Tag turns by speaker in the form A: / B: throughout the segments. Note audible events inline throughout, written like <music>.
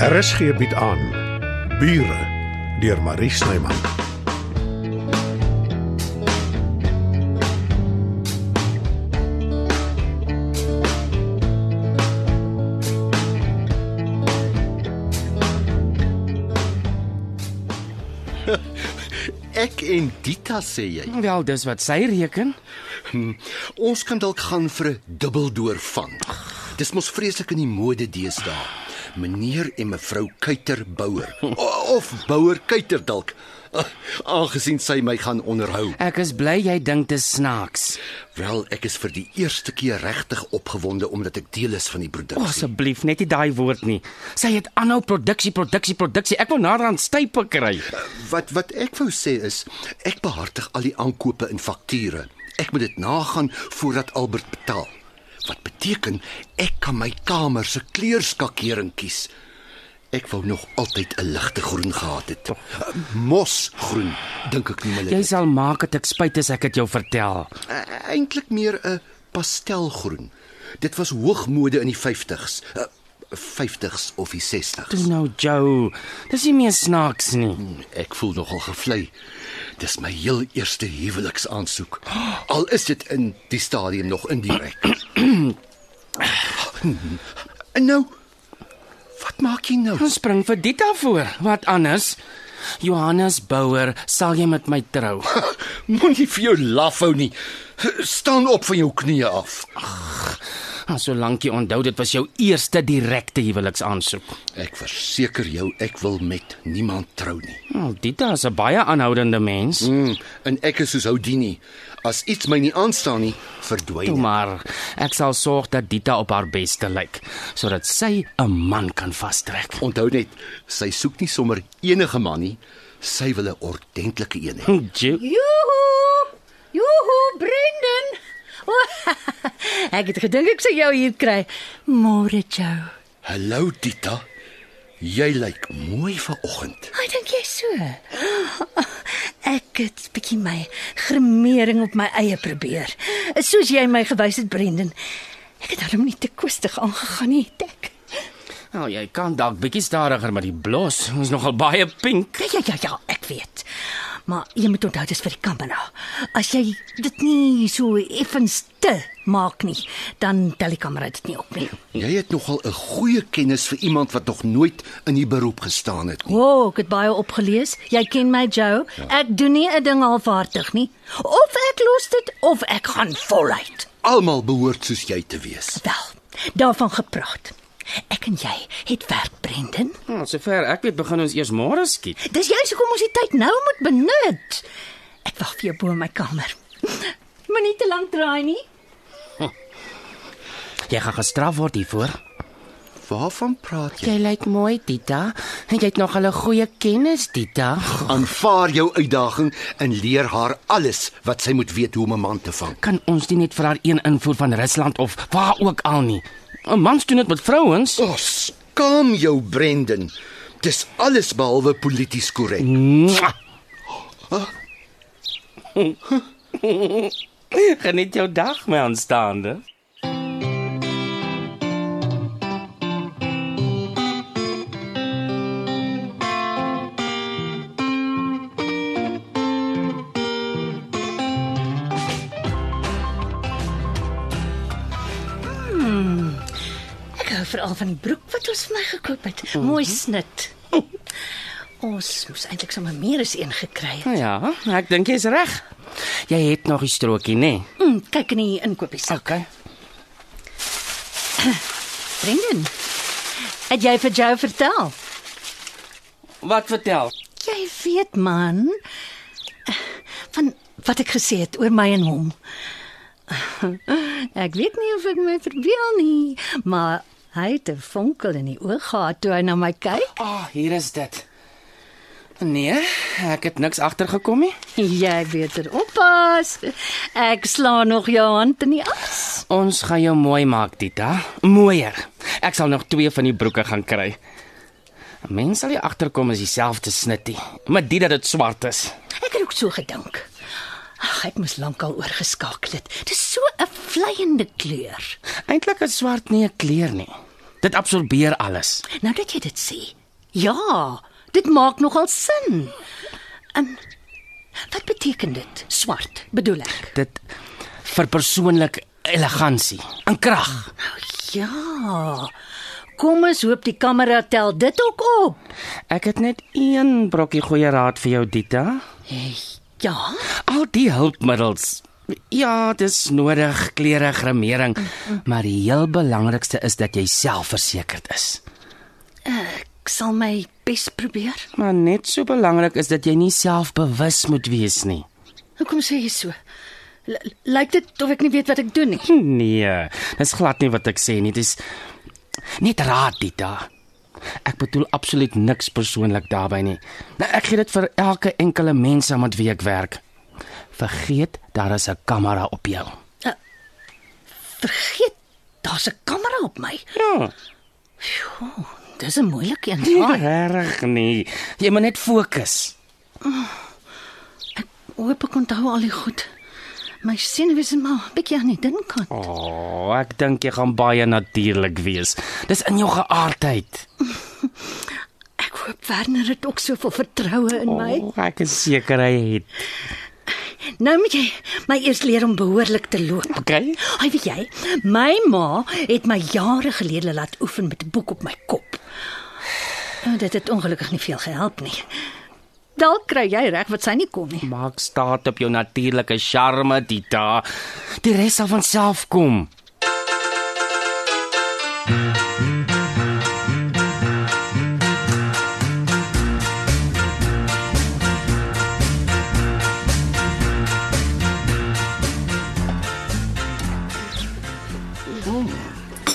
A: RSG bied aan Bure deur Marie Snyman.
B: Ek en Dita sê jy.
C: Wel, dis wat sy reken.
B: Ons kan dalk gaan vir 'n dubbeldoor vang. Dis mos vreeslik in die mode deesdae. Meneer en mevrou Kuiter Bouwer O- of Bouwer Kuiter dalk. Ah, Aangesien sy my gaan onderhou.
C: Ek is bly jy dink dit is snaaks.
B: Wel, ek is vir die eerste keer regtig opgewonde omdat ek deel is van die
C: O,
B: produksie.
C: asseblief, net nie daai woord nie. Sy het aanhou produksie, produksie, produksie. Ek wil nader aan stype kry.
B: Wat wat ek wou sê is, ek behartig al die aankope en fakture. Ek moet dit nagaan voordat Albert betaal. Wat beteken ek kan my kamer se kleurskakering kies. Ek wou nog altyd 'n ligte groen gehad het. Eh, Mosgroen, dink ek noem hulle.
C: Jy
B: dit.
C: sal maak dat ek spyt as ek dit jou vertel.
B: E- Eintlik meer 'n pastelgroen. Dit was hoogmode in die 50s. eh, 50s of die 60s.
C: Toe nou, Joe. Dis nie meer snaaks nie.
B: Ek voel nogal gevlei. Dis my heel eerste huweliksaansoek. Al is dit in die stadium nog indirek. <clears throat> en nou wat maak jy nou?
C: Ons spring vir Dita voor. Wat anders? Johannes Bouwer, sal jy met my trou?
B: <laughs>
C: <laughs>
B: Moenie vir jou laf hou nie. Staan op van jou knieë af.
C: Ah, Solank jy onthou dit was jou eerste direkte huweliksaansoek.
B: Ek verseker jou, ek wil met niemand trou nie.
C: Nou, Dita is 'n baie aanhoudende mens.
B: Mm, en ek is soos Houdini. As iets my nie aanstaan nie, verdwyn
C: Toe
B: ek.
C: maar, ek sal sorg dat Dita op haar beste lyk sodat sy 'n man kan vastrek.
B: Onthou net, sy soek nie sommer enige man nie. Sy wil 'n ordentlike een hê.
C: Jo,
D: Joehoe! Joehoe, Brendan. <laughs> O, ek het gedink ek sou jou hier kry. Môre jou.
B: Hallo Tita. Jy lyk mooi vanoggend.
D: Ai, dink jy so? <gasps> Ek het bietjie my grimering op my eie probeer. Soos jy my gewys het, Brendan. Ek het hom nie te kwistig aangegaan nie, het ek.
C: nou, jy kan dalk bietjie stadiger met die blos. Ons nogal baie pink.
D: Ja, ja, ja, ja, ek weet. Maar jy moet onthou dis vir die kamera. As jy dit nie so effens te maak nie, dan tel die kamera dit nie op nie.
B: Jy het nogal 'n goeie kennis vir iemand wat nog nooit in die beroep gestaan het nie.
D: Wow, oh, ek het baie opgelees. Jy ken my, Joe. Ek doen nie 'n ding halfhartig nie. Of ek los dit of ek gaan voluit.
B: Almal behoort soos jy te wees.
D: Wel, daarvan gepraat. Ek en jy het werk, Brendan.
C: Nou, sover ek weet begin ons eers môre skiet.
D: Dis juis hoekom ons die tyd nou moet benut. Ek wag vir jou bo in my kamer. <laughs> Moenie te lank draai nie.
C: Jy gaan gestraf word hiervoor.
B: Waarvan praat jy?
C: Jy lyk mooi, Dita. En jy het nog 'n goeie kennis, Dita.
B: Aanvaar jou uitdaging en leer haar alles wat sy moet weet hoe om 'n man te vang.
C: Kan ons nie net vir haar een invoer van Rusland of waar ook al nie. 'n Mans doen dit met vrouens.
B: O, oh, skaam jou, Brendan. Dis alles behalwe polities korrek.
C: Mwah. Geniet jou dag, my aanstaande.
D: Ek hou veral van die broek wat ons vir my gekoop het. Mooi snit. Ons moes eintlik sommer meer as een gekry het.
C: Ja, ek dink jy's reg. Jy het nog 'n strokie, nê? Nee?
D: Mm, kyk in die inkopies.
C: Okay.
D: Brendan, het jy vir jou vertel?
C: Wat vertel?
D: Jy weet man van wat ek gesê het oor my en hom. Ek weet nie of ek my verbeel nie, maar hy het 'n vonkel in die oog gehad toe hy na my kyk.
C: Ah, oh, hier is dit. Nee, ek het niks agtergekom nie.
D: Jy beter oppas. Ek slaan nog jou hand in die as.
C: Ons gaan jou mooi maak, Tita. Mooier. Ek sal nog twee van die broeke gaan kry. 'n Mens sal nie agterkom as dieselfde snittie, maar dit dat dit swart is.
D: Ek het ook so gedink. Ag, ek moes lankal oorgeskakel het. Dis so 'n vleiende kleur.
C: Eintlik is swart nie 'n kleur nie. Dit absorbeer alles.
D: Nou dat jy dit sê. Ja, dit maak nogal sin. En wat beteken dit? Swart, bedoel ek.
C: Dit verpersoonlik elegansie en krag.
D: Ja. Kom ons hoop die kamera tel dit ook op.
C: Ek het net een brokkie goeie raad vir jou Dita.
D: Hey, ja.
C: Al die hulpmiddels. Ja, dis nodig, klere, grimering, maar die heel belangrikste is dat jy selfversekerd is.
D: Ek sal my bes probeer.
C: Maar net so belangrik is dat jy nie selfbewus moet wees nie.
D: Hoekom Nou sê jy so? L- Lyk dit of ek nie weet wat ek doen nie.
C: <laughs> Nee, dis glad nie wat ek sê nie. Dis net raad Dita. Ek bedoel absoluut niks persoonlik daarbey nie. Nou ek gee dit vir elke enkele mens aan met wie ek werk. Vergeet daar is 'n kamera op jou.
D: Eh, Vergeet, daar's 'n kamera op my.
C: Ja.
D: Dis 'n moeilike een.
C: Nee, <laughs>
D: Ja,
C: Regtig nie. Jy moet net fokus.
D: hoop ek onthou al die goed. My senuwees is maar 'n bietjie aan die dun kant.
C: O, oh, ek dink jy gaan baie natuurlik wees. Dis in jou geaardheid.
D: Ek hoop Werner het ook soveel vertroue in my.
C: O, Oh, ek is seker hy het.
D: Nou moet jy my eers leer om behoorlik te loop.
C: Okay.
D: Ai, weet jy, my ma het my jare gelede laat oefen met 'n boek op my kop. Nou, dit het ongelukkig nie veel gehelp nie. Dalk kry jy reg wat sy nie kon nie.
C: Maak staat op jou natuurlike charme, Dita. Die res sal van self kom.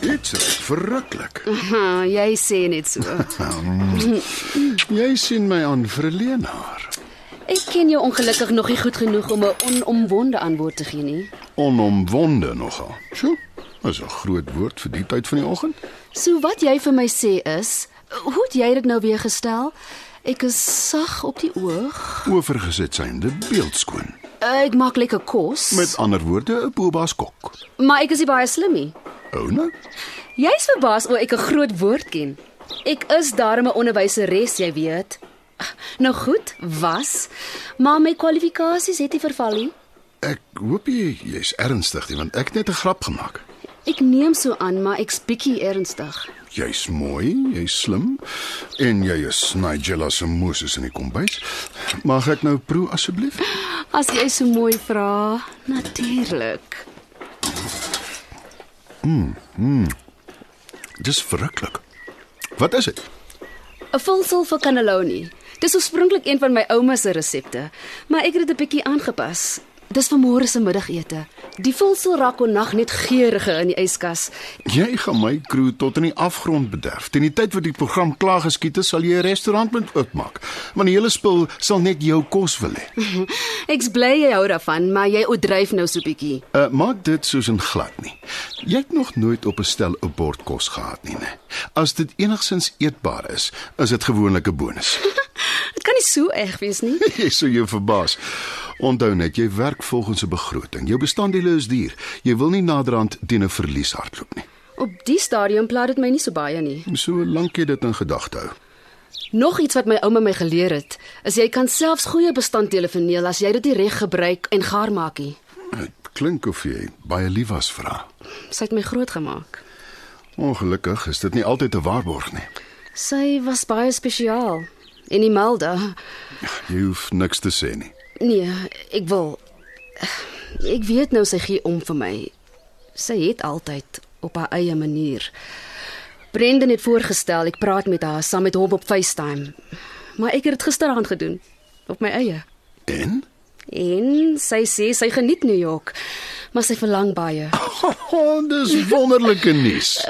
A: Dit is verruklik.
E: Ah, jy sê net so.
A: Jy sien my aan vir 'n leenaar.
E: <laughs> Ek ken jou ongelukkig nog nie goed genoeg om 'n onomwonde antwoord te gee nie.
A: Onomwonde nogal. Sjoe. Dis 'n groot woord vir die tyd van die oggend.
E: So wat jy vir my sê is, hoe het jy dit nou weer gestel? Ek is sag op die oog. Eh,
A: Oorgesit synde beeldskoon.
E: Ek maak lekker kos,
A: Met ander woorde 'n boba's kok.
E: maar ek is nie baie slim nie.
A: Ou nou.
E: Jy's verbaas oor ek 'n groot woord ken. Ek is darem 'n onderwyseres, jy weet. Nou goed, was, maar my kwalifikasies het nie verval nie.
A: Ek hoop jy jy's ernstig nie, want ek het net 'n grap gemaak.
E: Ek neem so aan, maar ek's bietjie ernstig.
A: Jy's mooi, jy's slim en jy is Nigella se Moses in die kombuis. Mag ek nou proe asseblief?
E: As jy so mooi vra, natuurlik.
A: Dis verruklik. Wat is dit?
E: 'n Vulsel vir cannelloni. Dis oorspronklik een van my ouma se resepte, maar ek het dit 'n bietjie aangepas. Dis vir môre se middagete. Die vulsel raak onnag net geurige in die yskas.
A: Jy gaan my crew tot in die afgrond bederf. Teen die tyd wat die program klaar geskiet is, sal jy 'n restaurant moet oopmaak, want die hele spul sal net jou kos wil hê.
E: <laughs> Ek's bly jy hou daarvan, maar jy oordryf nou so bietjie.
A: Uh, maak dit soos 'n glad nie. Jy het nog nooit op 'n stel 'n bord kos gehad nie, né? As dit enigsins eetbaar is, is dit gewoonlik 'n bonus.
E: Dit kan nie so erg wees nie.
A: jy sou jou verbaas. Onthou net, jy werk volgens 'n begroting. Jou bestanddele is duur. Jy wil nie naderhand teen 'n verlies hardloop nie.
E: Op die stadium pla dit my nie so baie nie.
A: So lank jy dit in gedagte hou.
E: Nog iets wat my ouma my geleer het, is jy kan selfs goeie bestanddele verniel as jy dit nie reg gebruik en gaar maak nie.
A: Dit klink of jy baie lief was vir haar.
E: Sy het my grootgemaak.
A: Ongelukkig is dit nie altyd 'n waarborg nie.
E: Sy was baie spesiaal. En Imelda,
A: Jy hoef niks te sê nie.
E: nee, ek wil ek weet nou sy gee om vir my. Sy het altyd op haar eie manier. Brendan het voorgestel ek praat met haar saam met hom op FaceTime. Maar ek het dit gisteraand gedoen op my eie.
A: En? <laughs>
E: En sy sê sy geniet New York, maar sy verlang baie.
A: Oh, dis wonderlike nuus.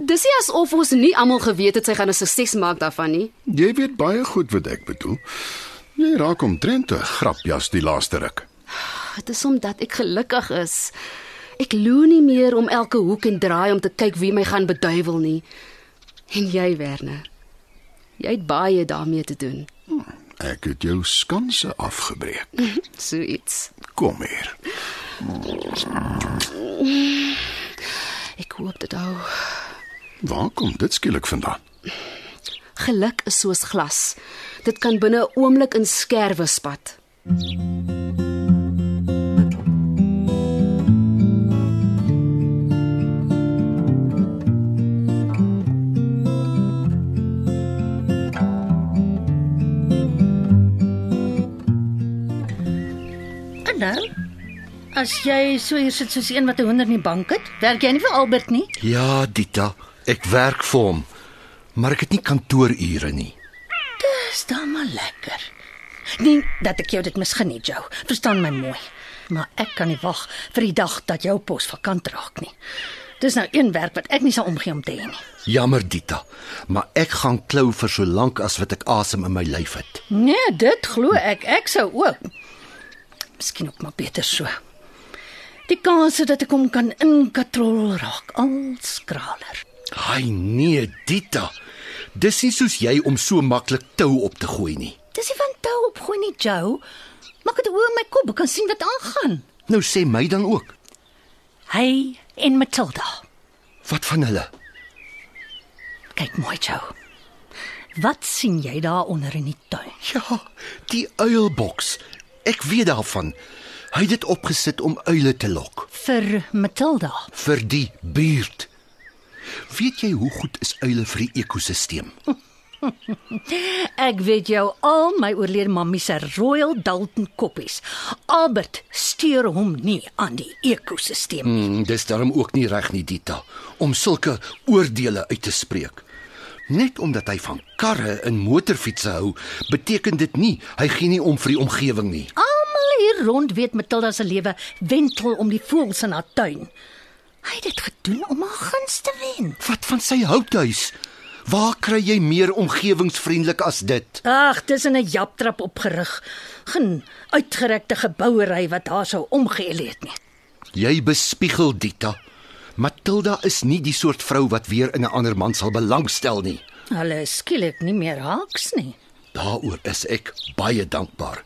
E: Dis nie asof ons nie almal geweet het sy gaan 'n sukses maak daarvan nie.
A: Jy weet baie goed wat ek bedoel. Jy raak omtrent 'n grapjas die laaste ruk.
E: Dit is omdat ek gelukkig is. Ek loer nie meer om elke hoek en draai om te kyk wie my gaan beduiwel nie. En jy, Werner, jy het baie daarmee te doen.
A: Ek het jou skanse afgebreek.
E: So iets.
A: Kom hier.
E: Ek hoop dit hou.
A: Waar kom dit skielik vandaan?
E: Geluk is soos glas. Dit kan binne 'n oomblik in skerwe spat.
D: En nou, as jy so hier sit soos een wat 'n honder in die bank het, werk jy nie vir Albert nie.
B: Ja, Dita, ek werk vir hom. Maar ek het nie kantoorure nie.
D: Dis dan maar lekker. Nie dat ek jou dit misgun nie, Joe. Verstaan my mooi. Maar ek kan nie wag vir die dag dat jou pos vakant raak nie. Dis nou een werk wat ek nie sal omgee om te hê nie.
B: Jammer, Dita, maar ek gaan klou vir so lank as wat ek asem in my lyf het.
D: Nee, dit glo ek. Ek sou ook. Miskien ook maar beter so. Die kans dat ek hom kan inkatrol raak al skraler.
B: Ai nee, Dita. Dis nie soos jy om so maklik tou op te gooi nie.
D: Dis nie van tou opgooi nie, Joe. Maak dit oor my kop, ek kan sien wat aangaan.
B: Nou sê my dan ook.
D: Hy en Matilda.
B: Wat van hulle?
D: Kyk mooi, Joe. Wat sien jy daar onder in die tuin?
B: Ja, die uilboks. Ek weet daarvan. Hy het dit opgesit om uile te lok
D: Vir Matilda.
B: vir die buurt. Weet jy hoe goed is uile vir die ekosisteem?
D: Ek weet jou al my oorlede mammie se Royal Dalton koppies. Albert steur hom nie aan die ekosisteem nie.
B: Mm, dis daarom ook nie reg nie, Dita, om sulke oordeele uit te spreek. Net omdat hy van karre en motorfietsse hou, beteken dit nie hy gee nie om vir die omgewing nie.
D: Almal hier rond weet Matilda se lewe wentel om die voëls in haar tuin. Hy het dit gedoen om haar guns te wen.
B: Wat van sy houthuis? Waar kry jy meer omgewingsvriendelik as dit?
D: Ag, dis in 'n japtrap opgerig. Geen uitgerekte gebouery wat haar sou omgeel het nie.
B: Jy bespiegel Dita. Matilda is nie die soort vrou wat weer in 'n ander man sal belangstel nie.
D: Hulle is skielik nie meer haaks nie.
B: Daaroor is ek baie dankbaar.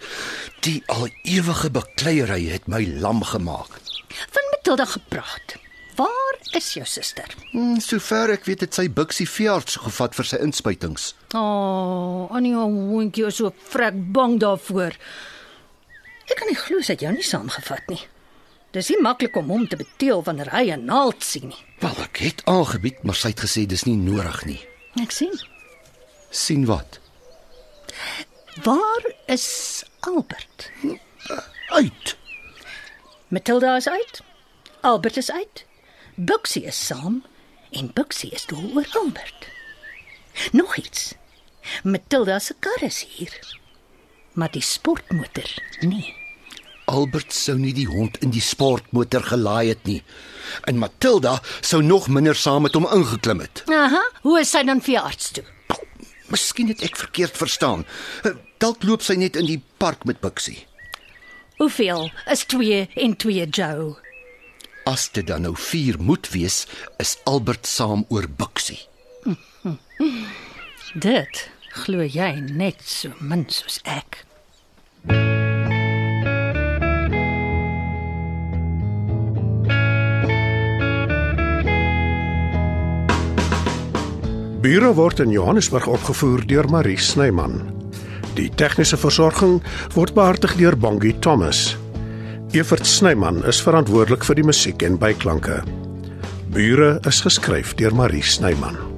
B: Die al ewige bekleierery het my lam gemaak.
D: Van Matilda gepraat. Waar is jou suster?
B: Hmm, sover ek weet het sy Bixie veearts gevat vir sy inspuitings.
D: O, oh, Annie, hondjie is so vrek bang daarvoor. Ek kan nie glo sy het jou nie saamgevat nie. Dis nie maklik om hom te beteel wanneer hy 'n naald sien nie.
B: Wel, ek het aangebied, maar sy het gesê dis nie nodig nie.
D: Ek sien.
B: sien wat?
D: Waar is Albert?
B: Uit.
D: Matilda is uit. Albert is uit. Buxie is saam en Buxie is dol oor Albert. Nog iets. Matilda se kar is hier. Maar die sportmotor nee. nie.
B: Albert sou nie die hond in die sportmotor gelaai het nie. En Matilda sou nog minder saam met hom ingeklim het.
D: Aha, hoe is sy dan veearts toe?
B: Miskien het ek verkeerd verstaan. Eh, Dalk loop sy net in die park met Bixie.
D: Hoeveel is 2 en 2 Joe?
B: As dit dan nou 4 moet wees, is Albert saam oor Bixie.
D: Dit glo jy net so min soos ek.
F: Bure word in Johannesburg opgevoer deur Marie Snyman. Die tegniese versorging word behartig deur Bongie Thomas. Evert Snyman is verantwoordelik vir die musiek en byklanke. Bure is geskryf deur Marie Snyman.